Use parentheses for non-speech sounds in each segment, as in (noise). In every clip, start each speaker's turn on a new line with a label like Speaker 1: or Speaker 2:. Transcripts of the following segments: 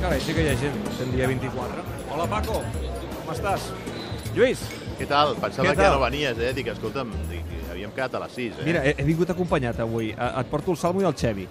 Speaker 1: Carai, sí que hi ha gent, sent dia 24. Hola, Paco, com estàs? Lluís,
Speaker 2: Què tal? Pensava
Speaker 1: Què
Speaker 2: que
Speaker 1: tal?
Speaker 2: no venies, eh? Dic, escolta'm, dic, havíem quedat a les 6, eh?
Speaker 1: mira, he, he vingut acompanyat avui. Eh, Et porto el Salmo i el Xevi.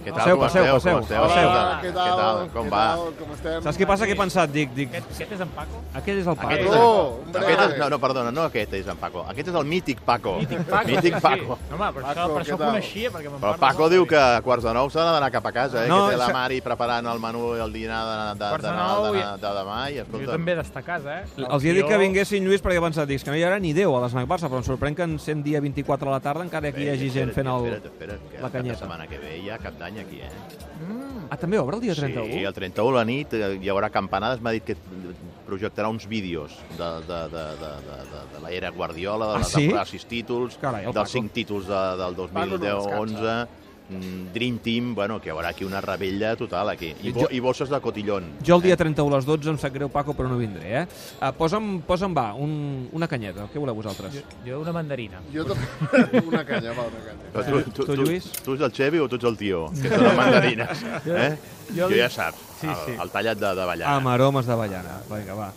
Speaker 2: què
Speaker 1: passeu,
Speaker 2: com
Speaker 1: passeu,
Speaker 2: esteu?
Speaker 1: passeu.
Speaker 2: Com esteu?
Speaker 1: Hola,
Speaker 2: Escolta'm,
Speaker 3: què tal?
Speaker 2: Què tal? Com
Speaker 3: Què
Speaker 2: va?
Speaker 3: Tal? Com estem?
Speaker 1: Saps què passa? Que he pensat? Dic, dic,
Speaker 4: Aquest, aquest és en Paco?
Speaker 1: aquell és el Paco.
Speaker 2: Aquest és,
Speaker 3: Paco,
Speaker 2: el...
Speaker 3: hombre.
Speaker 2: aquest és... No, no, perdona, no aquest és en Paco. Aquest és el mític Paco. Mític
Speaker 4: sí,
Speaker 2: Paco.
Speaker 4: Sí. No, home, però Paco,
Speaker 3: Paco,
Speaker 4: per això
Speaker 3: què tal?
Speaker 4: ho coneixia, perquè me'n
Speaker 2: Però el
Speaker 4: parla
Speaker 2: Paco
Speaker 4: molt.
Speaker 2: diu que a quarts de nou s'ha d'anar cap a casa, eh?
Speaker 1: No,
Speaker 2: que té la
Speaker 1: això-
Speaker 2: Mari preparant el menú i el dinar de, de,
Speaker 4: Quarts
Speaker 2: de,
Speaker 4: de
Speaker 2: de,
Speaker 4: nou
Speaker 2: de,
Speaker 4: i-
Speaker 2: de, de demà i
Speaker 4: Jo
Speaker 2: escolta...
Speaker 4: també des de casa, eh? El
Speaker 1: Els hi he dit
Speaker 4: tio-
Speaker 1: que vinguessin, Lluís, perquè he pensat, dic, és que no hi haurà ni 10 a l'esnac Barça, però em sorprèn que en sent dia 24 a la tarda encara aquí hi hagi gent fent el...
Speaker 2: Espera't, espera't, que
Speaker 1: la canyeta.
Speaker 2: La setmana que ve hi ha cap d'any aquí, eh?
Speaker 1: Ah, també obre el dia
Speaker 2: Sí,
Speaker 1: 31?
Speaker 2: el 31 a la nit eh, hi haurà campanades. M'ha dit que projectarà uns vídeos de, de, de, de, de, de, de l'era Guardiola, de,
Speaker 1: Ah,
Speaker 2: la
Speaker 1: sí?
Speaker 2: temporada de sis títols,
Speaker 1: Carai, el Paco.
Speaker 2: dels cinc títols de, del
Speaker 3: Paco no descansa.
Speaker 2: 2010-11, Mm, Dream Team, bueno, que hi haurà aquí una rebella total aquí. I, bo,
Speaker 1: Jo-
Speaker 2: i bosses de cotillon.
Speaker 1: Jo el dia 31 a les 12 em sap greu, Paco, però no vindré, eh? Uh, posa'm, posa'm, va, un, una canyeta. Què voleu vosaltres?
Speaker 4: Jo, jo una mandarina.
Speaker 3: (laughs) Jo també... Una canya, va, una canya.
Speaker 2: Però
Speaker 1: Eh, tu, Lluís?
Speaker 2: Tu, tu ets el Xevi o tu ets el
Speaker 1: (laughs)
Speaker 2: tio? Que són les mandarines. Eh? Jo,
Speaker 4: jo
Speaker 2: ja
Speaker 4: dic-
Speaker 2: saps,
Speaker 4: Sí, sí.
Speaker 2: El, el tallat de, de ballana.
Speaker 1: Ah, Amb aromes d'avellana. Vinga, va.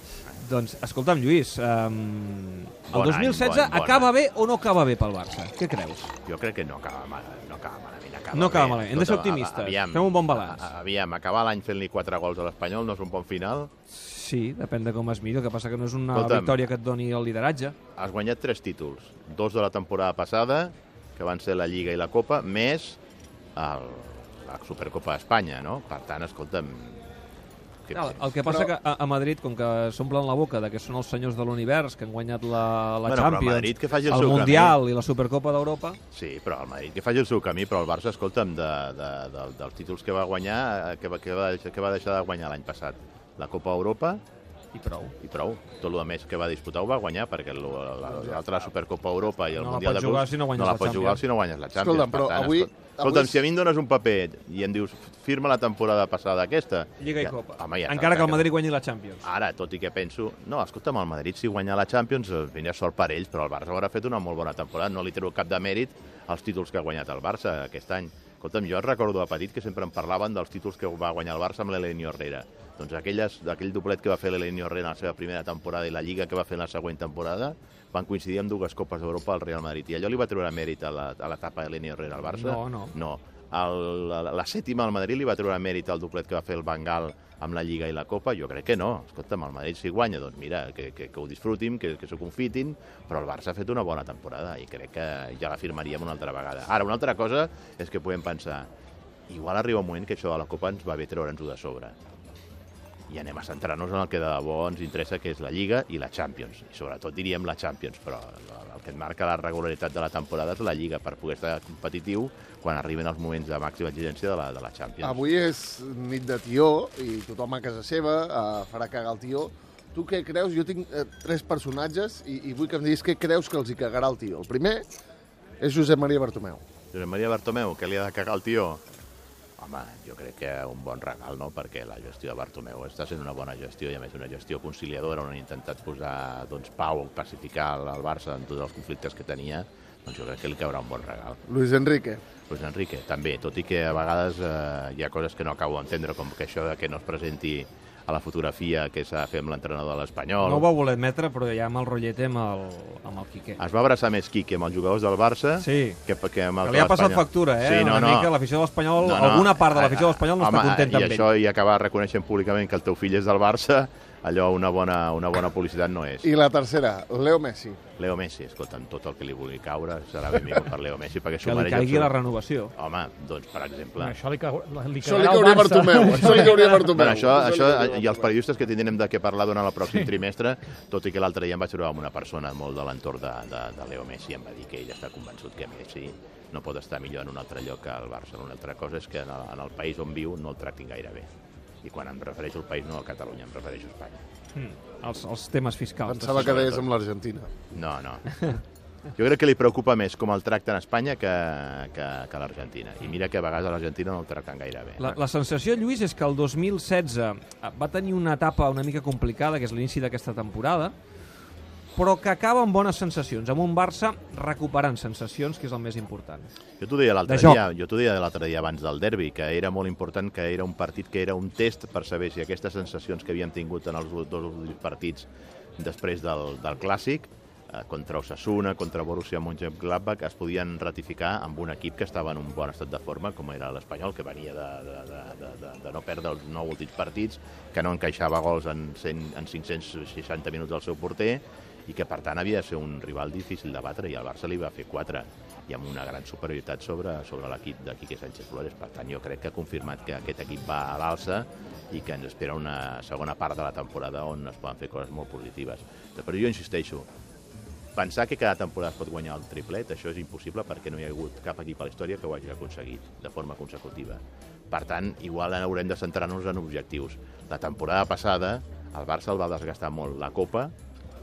Speaker 1: Doncs, escolta'm, Lluís, um, el
Speaker 2: Bon any,
Speaker 1: 2016
Speaker 2: bon- bon
Speaker 1: acaba
Speaker 2: any.
Speaker 1: bé o no acaba bé pel Barça? Què creus?
Speaker 2: Jo crec que no acaba malament. No acaba malament. Acaba
Speaker 1: No acaba
Speaker 2: bé.
Speaker 1: malament, hem de ser
Speaker 2: Escolta,
Speaker 1: optimistes,
Speaker 2: a-
Speaker 1: fem un bon balanç.
Speaker 2: a- Aviam, acabar l'any fent-li 4 gols a l'Espanyol no és un bon final.
Speaker 1: Sí, depèn de com es miri, el que passa que no és una
Speaker 2: Escolta'm.
Speaker 1: victòria que et doni el lideratge.
Speaker 2: Has guanyat 3 títols. Dos de la temporada passada, que van ser la Lliga i la Copa, més el, la Supercopa d'Espanya, no? Per tant, escolta'm... Que,
Speaker 1: El, el que passa
Speaker 3: Però-
Speaker 1: que a, a Madrid, com que s'omplen la boca de que són els senyors de l'univers que han guanyat la, la
Speaker 2: Bueno, però
Speaker 1: Champions,
Speaker 2: Madrid que faci el
Speaker 1: el
Speaker 2: seu
Speaker 1: Mundial i la Supercopa d'Europa...
Speaker 2: Sí, però el Madrid que faci el seu camí, però el Barça, escolta'm, de, de, de, dels títols que va guanyar, eh, que va, que va, deixar, que va deixar de guanyar l'any passat. La Copa Europa,
Speaker 1: I prou.
Speaker 2: i prou. Tot el més que va disputar ho va guanyar, perquè lo- la- l'altra Supercopa Europa i el
Speaker 1: No la
Speaker 2: Mundial de
Speaker 1: pots jugar
Speaker 2: Clubs
Speaker 1: si no guanyes
Speaker 2: no la
Speaker 1: la
Speaker 2: pots
Speaker 1: Champions.
Speaker 2: jugar si no guanyes la Champions.
Speaker 3: Escolta'm,
Speaker 2: Per
Speaker 3: però
Speaker 2: tant,
Speaker 3: avui-
Speaker 2: escol- Escolta'm,
Speaker 3: avui-
Speaker 2: si a mi em dones un paper i em dius firma la temporada passada aquesta...
Speaker 1: Lliga i
Speaker 2: ja-
Speaker 1: Copa.
Speaker 2: Home, ja Ah,
Speaker 1: Encara
Speaker 2: t'has-
Speaker 1: que el Madrid guanyi la Champions.
Speaker 2: Ara, tot i que penso... No, escolta'm, el Madrid si guanyar la Champions eh, vindrà sort per ells, però el Barça haurà fet una molt bona temporada. No li treu cap de mèrit als títols que ha guanyat el Barça aquest any. Escolta'm, jo recordo de petit que sempre em parlaven dels títols que va guanyar el Barça amb l'Elenio Herrera. Doncs aquelles, aquell doblet que va fer l'Elenio Herrera en la seva primera temporada i la Lliga que va fer en la següent temporada van coincidir amb dues Copes d'Europa al Real Madrid. I allò li va treure mèrit a la- a l'etapa de l'Elenio Herrera al Barça?
Speaker 1: No, no.
Speaker 2: No. El, la, la sèptima al Madrid li va treure mèrit al doblet que va fer el Bengal amb la Lliga i la Copa? Jo crec que no. Escolta'm, el Madrid si guanya, doncs mira, que, que, que ho disfrutin, que, que s'ho confitin, però el Barça ha fet una bona temporada i crec que ja la firmaríem una altra vegada. Ara, una altra cosa és que podem pensar igual arriba un moment que això de la Copa ens va bé treure'ns-ho de sobre i anem a centrar-nos en el que de debò ens interessa, que és la Lliga i la Champions. I sobretot diríem la Champions, però el que et marca la regularitat de la temporada és la Lliga, per poder estar competitiu quan arriben els moments de màxima exigència de la, de la Champions.
Speaker 3: Avui és nit de tió i tothom a casa seva eh, farà cagar el tió. Tu què creus? Jo tinc eh, tres personatges i, i vull que em diguis què creus que els hi cagarà el tio. El primer és Josep Maria Bartomeu.
Speaker 2: Josep Maria Bartomeu, què li ha de cagar el tio? Home, jo crec que un bon regal, no?, perquè la gestió de Bartomeu està sent una bona gestió i, a més, una gestió conciliadora on han intentat posar, doncs, pau, pacificar el- el Barça en tots els conflictes que tenia, doncs jo crec que li caurà un bon regal.
Speaker 3: Luis Enrique.
Speaker 2: Pues Enrique, també, tot i que a vegades eh, hi ha coses que no acabo d'entendre, com que això de que no es presenti a la fotografia que s'ha de fer amb l'entrenador de l'Espanyol.
Speaker 1: No ho va voler admetre, però ja amb el rotllet amb el, amb el Quique.
Speaker 2: Es va abraçar més Quique amb els jugadors del Barça
Speaker 1: Sí.
Speaker 2: que, que amb el
Speaker 1: Que
Speaker 2: de
Speaker 1: li ha passat
Speaker 2: l'Espanyol.
Speaker 1: factura, eh?
Speaker 2: Sí, no,
Speaker 1: Una
Speaker 2: no.
Speaker 1: mica l'afició de l'Espanyol, alguna part de l'afició de l'Espanyol no
Speaker 2: Home,
Speaker 1: està contenta
Speaker 2: i
Speaker 1: amb
Speaker 2: això i acabar reconeixent públicament que el teu fill és del Barça, allò una bona, una bona publicitat no és.
Speaker 3: I la tercera, Leo Messi.
Speaker 2: Leo Messi, escolta'm, tot el que li vulgui caure serà benvingut per Leo Messi, perquè
Speaker 1: ell.
Speaker 2: s'ho
Speaker 1: Que li
Speaker 2: mereix.
Speaker 1: caigui la
Speaker 2: absolut-
Speaker 1: renovació.
Speaker 2: Home, doncs, per exemple...
Speaker 4: Això li, cau, li
Speaker 3: Això li
Speaker 4: cagarà
Speaker 3: cauria
Speaker 4: al Barça.
Speaker 3: Bartomeu. Això li cauria Bartomeu.
Speaker 2: Bueno, això, això, i
Speaker 3: doncs li cauria
Speaker 2: els
Speaker 3: Bartomeu.
Speaker 2: periodistes que tindrem de què parlar durant el pròxim trimestre, tot i que l'altre dia em vaig trobar amb una persona molt de l'entorn de, de, de Leo Messi, em va dir que ell està convençut que Messi no pot estar millor en un altre lloc que al Barça. Una altra cosa és que en el, en el país on viu no el tractin gaire bé. I quan em refereixo al país, no a Catalunya, em refereixo a Espanya.
Speaker 1: Mm, els, els temes fiscals.
Speaker 3: Pensava que deies amb l'Argentina.
Speaker 2: No, no. Jo crec que li preocupa més com el tracten a Espanya que, que, que a l'Argentina. I mira que a vegades a l'Argentina no el tracten gaire bé. eh?
Speaker 1: La, la sensació, Lluís, és que el eh, 2016 va tenir una etapa una mica complicada, que és l'inici d'aquesta temporada, però que acaba amb bones sensacions, amb un Barça recuperant sensacions, que és el més important.
Speaker 2: Jo t'ho deia l'altre
Speaker 1: De joc.
Speaker 2: dia, jo t'ho deia l'altre dia abans del derbi, que era molt important que era un partit que era un test per saber si aquestes sensacions que havíem tingut en els u- dos últims partits després del, del Clàssic, eh, contra Osasuna, contra Borussia Mönchengladbach, es podien ratificar amb un equip que estava en un bon estat de forma, com era l'Espanyol, que venia de, de, de, de, de, de no perdre els nou últims partits, que no encaixava gols en, 100, en 560 minuts del seu porter, i que per tant havia de ser un rival difícil de batre i el Barça li va fer 4 i amb una gran superioritat sobre, sobre l'equip de Quique Sánchez Flores. Per tant, jo crec que ha confirmat que aquest equip va a l'alça i que ens espera una segona part de la temporada on es poden fer coses molt positives. Però jo insisteixo, pensar que cada temporada es pot guanyar el triplet, això és impossible perquè no hi ha hagut cap equip a la història que ho hagi aconseguit de forma consecutiva. Per tant, igual haurem de centrar-nos en objectius. La temporada passada el Barça el va desgastar molt la Copa,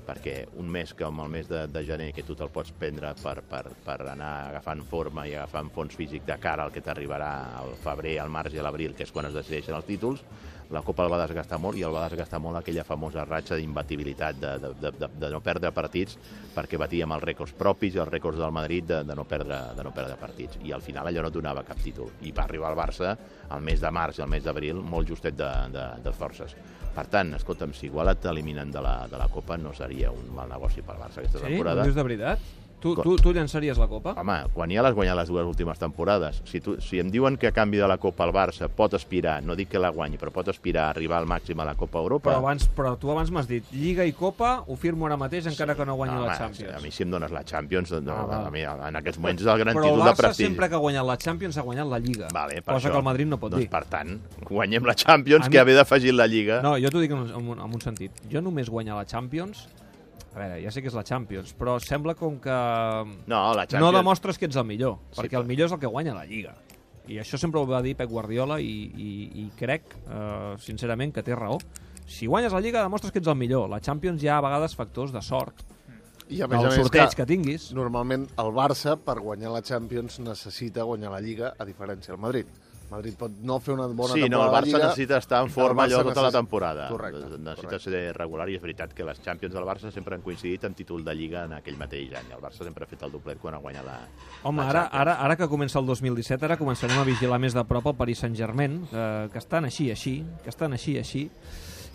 Speaker 2: perquè un mes com el mes de, de gener que tu te'l pots prendre per, per, per anar agafant forma i agafant fons físic de cara al que t'arribarà al febrer, al març i a l'abril, que és quan es decideixen els títols, la Copa el va desgastar molt i el va desgastar molt aquella famosa ratxa d'imbatibilitat, de, de, de, de, de no perdre partits, perquè batíem els rècords propis i els rècords del Madrid de, de, no perdre, de no perdre partits. I al final allò no et donava cap títol. I va arribar al Barça al mes de març i al mes d'abril molt justet de, de, de forces. Per tant, escolta'm, si igual et eliminen de la, de la Copa no seria un mal negoci pel Barça aquesta temporada.
Speaker 1: Ho dius de veritat? Tu,
Speaker 2: Com?
Speaker 1: tu, tu llançaries la copa?
Speaker 2: Home, quan ja l'has guanyat les dues últimes temporades, si, tu, si em diuen que a canvi de la Copa el Barça pot aspirar, no dic que la guanyi, però pot aspirar a arribar al màxim a la Copa Europa...
Speaker 1: Però, abans, però tu abans m'has dit Lliga i Copa, ho firmo ara mateix encara que no guanyo
Speaker 2: No,
Speaker 1: la
Speaker 2: home,
Speaker 1: Champions.
Speaker 2: A mi si em dones la Champions, doncs, no,
Speaker 1: Ah, va.
Speaker 2: a mi en aquests moments és el gran
Speaker 1: però el
Speaker 2: títol de
Speaker 1: Barça
Speaker 2: prestigi.
Speaker 1: sempre que ha guanyat la Champions ha guanyat la Lliga,
Speaker 2: Vale, per
Speaker 1: cosa
Speaker 2: això.
Speaker 1: que el Madrid no pot
Speaker 2: doncs,
Speaker 1: dir.
Speaker 2: Per tant, guanyem la Champions,
Speaker 1: A
Speaker 2: que
Speaker 1: mi-
Speaker 2: haver d'afegir la Lliga...
Speaker 1: No, jo t'ho dic en un, en, un, en un sentit. Jo només guanyar la Champions... A veure, ja sé que és la Champions, però sembla com que
Speaker 2: No, la
Speaker 1: no
Speaker 2: Champions...
Speaker 1: demostres que ets el millor,
Speaker 2: Sí,
Speaker 1: perquè
Speaker 2: però-
Speaker 1: el millor és el que guanya la Lliga. I això sempre ho va dir Pep Guardiola i, i, i crec, eh, sincerament, que té raó. Si guanyes la Lliga demostres que ets el millor. La Champions hi ha a vegades factors de sort,
Speaker 3: I a més
Speaker 1: del
Speaker 3: a més,
Speaker 1: sorteig
Speaker 3: clar,
Speaker 1: que tinguis.
Speaker 3: normalment el Barça, per guanyar la Champions, necessita guanyar la Lliga, a diferència del Madrid. El Madrid pot no fer una bona
Speaker 2: sí, no, el
Speaker 3: temporada a la
Speaker 2: Barça
Speaker 3: Lliga,
Speaker 2: necessita estar en
Speaker 3: el
Speaker 2: forma allò
Speaker 3: Barça
Speaker 2: tota la
Speaker 3: necessita-
Speaker 2: temporada. Doncs
Speaker 3: Correcte,
Speaker 2: necessita
Speaker 3: correcte.
Speaker 2: ser regular i és veritat que les Champions del Barça sempre han coincidit en títol de Lliga en aquell mateix any. El Barça sempre ha fet el doblet quan ha guanyat la,
Speaker 1: Home,
Speaker 2: la
Speaker 1: ara,
Speaker 2: Champions.
Speaker 1: ara, ara que comença el 2017, ara començarem a vigilar més de prop el Paris Saint-Germain, eh, que estan així, així, que estan així, així.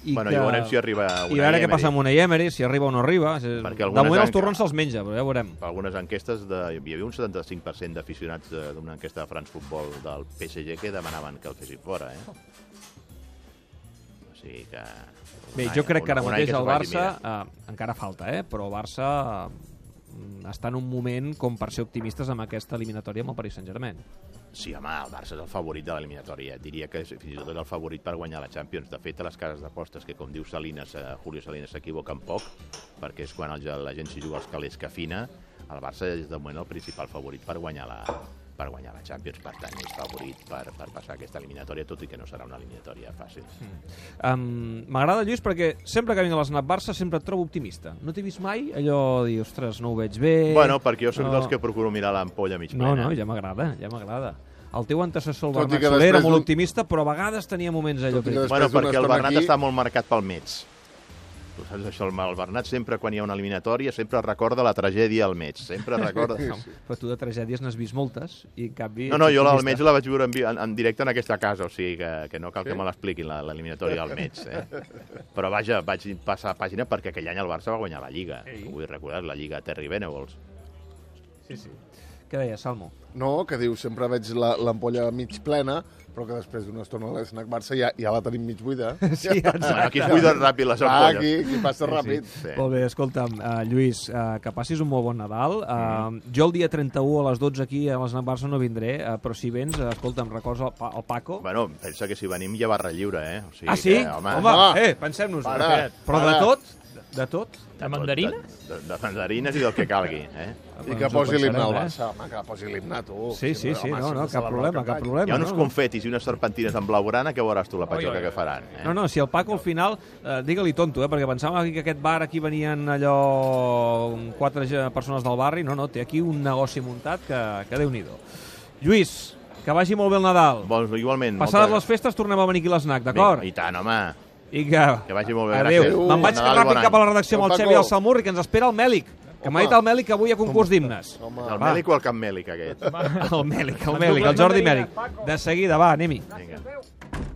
Speaker 1: I
Speaker 2: Bueno,
Speaker 1: que...
Speaker 2: i veurem si arriba
Speaker 1: I
Speaker 2: Unai
Speaker 1: a veure què
Speaker 2: Emery.
Speaker 1: passa amb una Emery, si arriba o no arriba. Si...
Speaker 2: Perquè
Speaker 1: De
Speaker 2: algunes
Speaker 1: moment els
Speaker 2: encara-
Speaker 1: torrons se'ls menja, però ja veurem.
Speaker 2: per algunes enquestes de, hi havia un 75% d'aficionats de- d'una enquesta de France Football del PSG que demanaven que el fessin fora, eh? O sigui que...
Speaker 1: Bé,
Speaker 2: un
Speaker 1: jo
Speaker 2: any-
Speaker 1: crec que ara
Speaker 2: un- un any
Speaker 1: mateix
Speaker 2: se'l
Speaker 1: el
Speaker 2: vagi
Speaker 1: Barça,
Speaker 2: mirant.
Speaker 1: eh, encara falta, eh, però el Barça eh, mm, està en un moment com per ser optimistes amb aquesta eliminatòria amb el Paris Saint-Germain.
Speaker 2: Sí, home, el Barça és el favorit de l'eliminatòria. Diria que és fins i tot el favorit per guanyar la Champions. De fet, a les cases d'apostes, que com diu Salinas, eh, Julio Salinas s'equivoquen poc, perquè és quan el, la gent s'hi juga els calés que afina, el Barça és de moment el principal favorit per guanyar la, per guanyar la Champions. Per tant, és favorit per, per passar aquesta eliminatòria, tot i que no serà una eliminatòria fàcil.
Speaker 1: Eh, Um, M'agrada, Lluís, perquè sempre que vinc a l'Snap Barça sempre et trobo optimista. No t'he vist mai allò de dir, ostres, no ho veig bé...
Speaker 2: Bueno, perquè jo soc
Speaker 1: no.
Speaker 2: dels que procuro mirar l'ampolla mig
Speaker 1: No,
Speaker 2: plena.
Speaker 1: no, ja m'agrada, ja m'agrada. El teu antecessor, el
Speaker 3: Tot i
Speaker 1: Bernat
Speaker 3: que
Speaker 1: Soler, era
Speaker 3: després
Speaker 1: molt
Speaker 3: d'un-
Speaker 1: optimista, però a vegades tenia moments allò
Speaker 3: Tot i
Speaker 1: que...
Speaker 3: que després
Speaker 2: Bueno,
Speaker 3: d'una
Speaker 2: perquè el
Speaker 3: estona
Speaker 2: Bernat
Speaker 3: aquí-
Speaker 2: està molt marcat pel Mets. Tu saps això, el, el Bernat sempre, quan hi ha una eliminatòria, sempre recorda la tragèdia al Mets. Sempre recorda...
Speaker 1: Però tu de tragèdies n'has vist moltes, i en canvi...
Speaker 2: No, no,
Speaker 1: ets
Speaker 2: jo la- al Mets
Speaker 1: optimista.
Speaker 2: la vaig veure en, vi- en, en directe en aquesta casa, o sigui que, que no cal que
Speaker 3: Sí?
Speaker 2: me l'expliquin, la- l'eliminatòria del Mets. Eh? Però vaja, vaig passar pàgina perquè aquell any el Barça va guanyar la Lliga.
Speaker 4: Sí.
Speaker 2: Ho vull recordar, la Lliga Terry Venables.
Speaker 4: Sí, sí.
Speaker 1: Què deia,
Speaker 3: (laughs)
Speaker 1: Salmo?
Speaker 3: No, que diu, sempre veig la- l'ampolla mig plena, però que després d'una estona a l'esnac Barça ja, ja la tenim mig buida.
Speaker 1: (laughs) Sí, exacte.
Speaker 2: Bueno, aquí es buiden ràpid les
Speaker 3: Ah,
Speaker 2: ampolles.
Speaker 3: aquí, aquí passa ràpid.
Speaker 2: Sí.
Speaker 1: Molt bé, escolta'm, uh, Lluís, uh, que passis un molt bon Nadal. Uh, jo el dia 31 a les 12 aquí a l'Snap Barça no vindré, uh, però si vens, uh, escolta'm, records el, pa el Paco.
Speaker 2: Bueno, pensa que si venim ja barra lliure, eh? O sigui
Speaker 1: ah, sí?
Speaker 2: Que,
Speaker 1: home,
Speaker 3: no.
Speaker 1: eh, pensem-nos.
Speaker 3: Para,
Speaker 1: Però de
Speaker 3: para.
Speaker 1: tot, de tot,
Speaker 4: De mandarines?
Speaker 2: De, de, de mandarines i del que calgui, eh?
Speaker 3: I
Speaker 1: Ens
Speaker 3: que
Speaker 1: ho
Speaker 3: posi l'himne al
Speaker 1: pensarem, eh?
Speaker 3: Barça, home, que posi l'himne, tu.
Speaker 1: Sí, sí, sí,
Speaker 3: Oh,
Speaker 1: no,
Speaker 3: home, si
Speaker 1: no,
Speaker 3: hem de
Speaker 1: cap
Speaker 3: celebrar
Speaker 1: problema,
Speaker 3: el
Speaker 1: cap
Speaker 3: any.
Speaker 1: problema.
Speaker 2: Hi ha uns
Speaker 1: no, no.
Speaker 2: confetis i unes serpentines en blaugrana que veuràs tu la
Speaker 4: Oi,
Speaker 2: patxoca
Speaker 4: oi,
Speaker 2: que
Speaker 4: oi.
Speaker 2: faran. Eh?
Speaker 1: No, no, si el Paco al final, eh, digue-li tonto, eh, perquè pensava que aquest bar aquí venien allò quatre ge- persones del barri, no, no, té aquí un negoci muntat que, que déu-n'hi-do. Lluís, que vagi molt bé el Nadal.
Speaker 2: Bon, igualment.
Speaker 1: Passades
Speaker 2: moltes-
Speaker 1: les festes tornem a venir aquí a l'esnac, d'acord?
Speaker 2: Vinga, I tant, home.
Speaker 1: I que...
Speaker 2: Que vagi molt bé,
Speaker 1: Adéu.
Speaker 2: gràcies.
Speaker 1: Me'n vaig
Speaker 2: Nadal, bon
Speaker 1: ràpid
Speaker 2: any.
Speaker 1: cap a la redacció amb el
Speaker 3: Bon
Speaker 1: Xevi i
Speaker 3: Paco.
Speaker 1: el Salmurri, que ens espera el Mèlic. Que m'ha
Speaker 3: Home.
Speaker 1: dit el Mèlic que avui hi ha concurs d'himnes.
Speaker 3: Home,
Speaker 2: El
Speaker 1: Va.
Speaker 2: Mèlic o el Camp Mèlic, aquest?
Speaker 1: El Mèlic, el
Speaker 4: El
Speaker 1: Mèlic, el
Speaker 4: doble
Speaker 1: Jordi
Speaker 4: mandarina,
Speaker 1: Mèlic.
Speaker 4: Paco.
Speaker 1: De seguida, va, anem-hi.
Speaker 2: Vinga.